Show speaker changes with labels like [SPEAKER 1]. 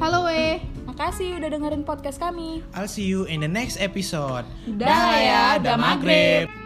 [SPEAKER 1] Halo weh.
[SPEAKER 2] Makasih udah dengerin podcast kami.
[SPEAKER 3] I'll see you in the next episode.
[SPEAKER 1] Dah ya,
[SPEAKER 3] Dah maghrib.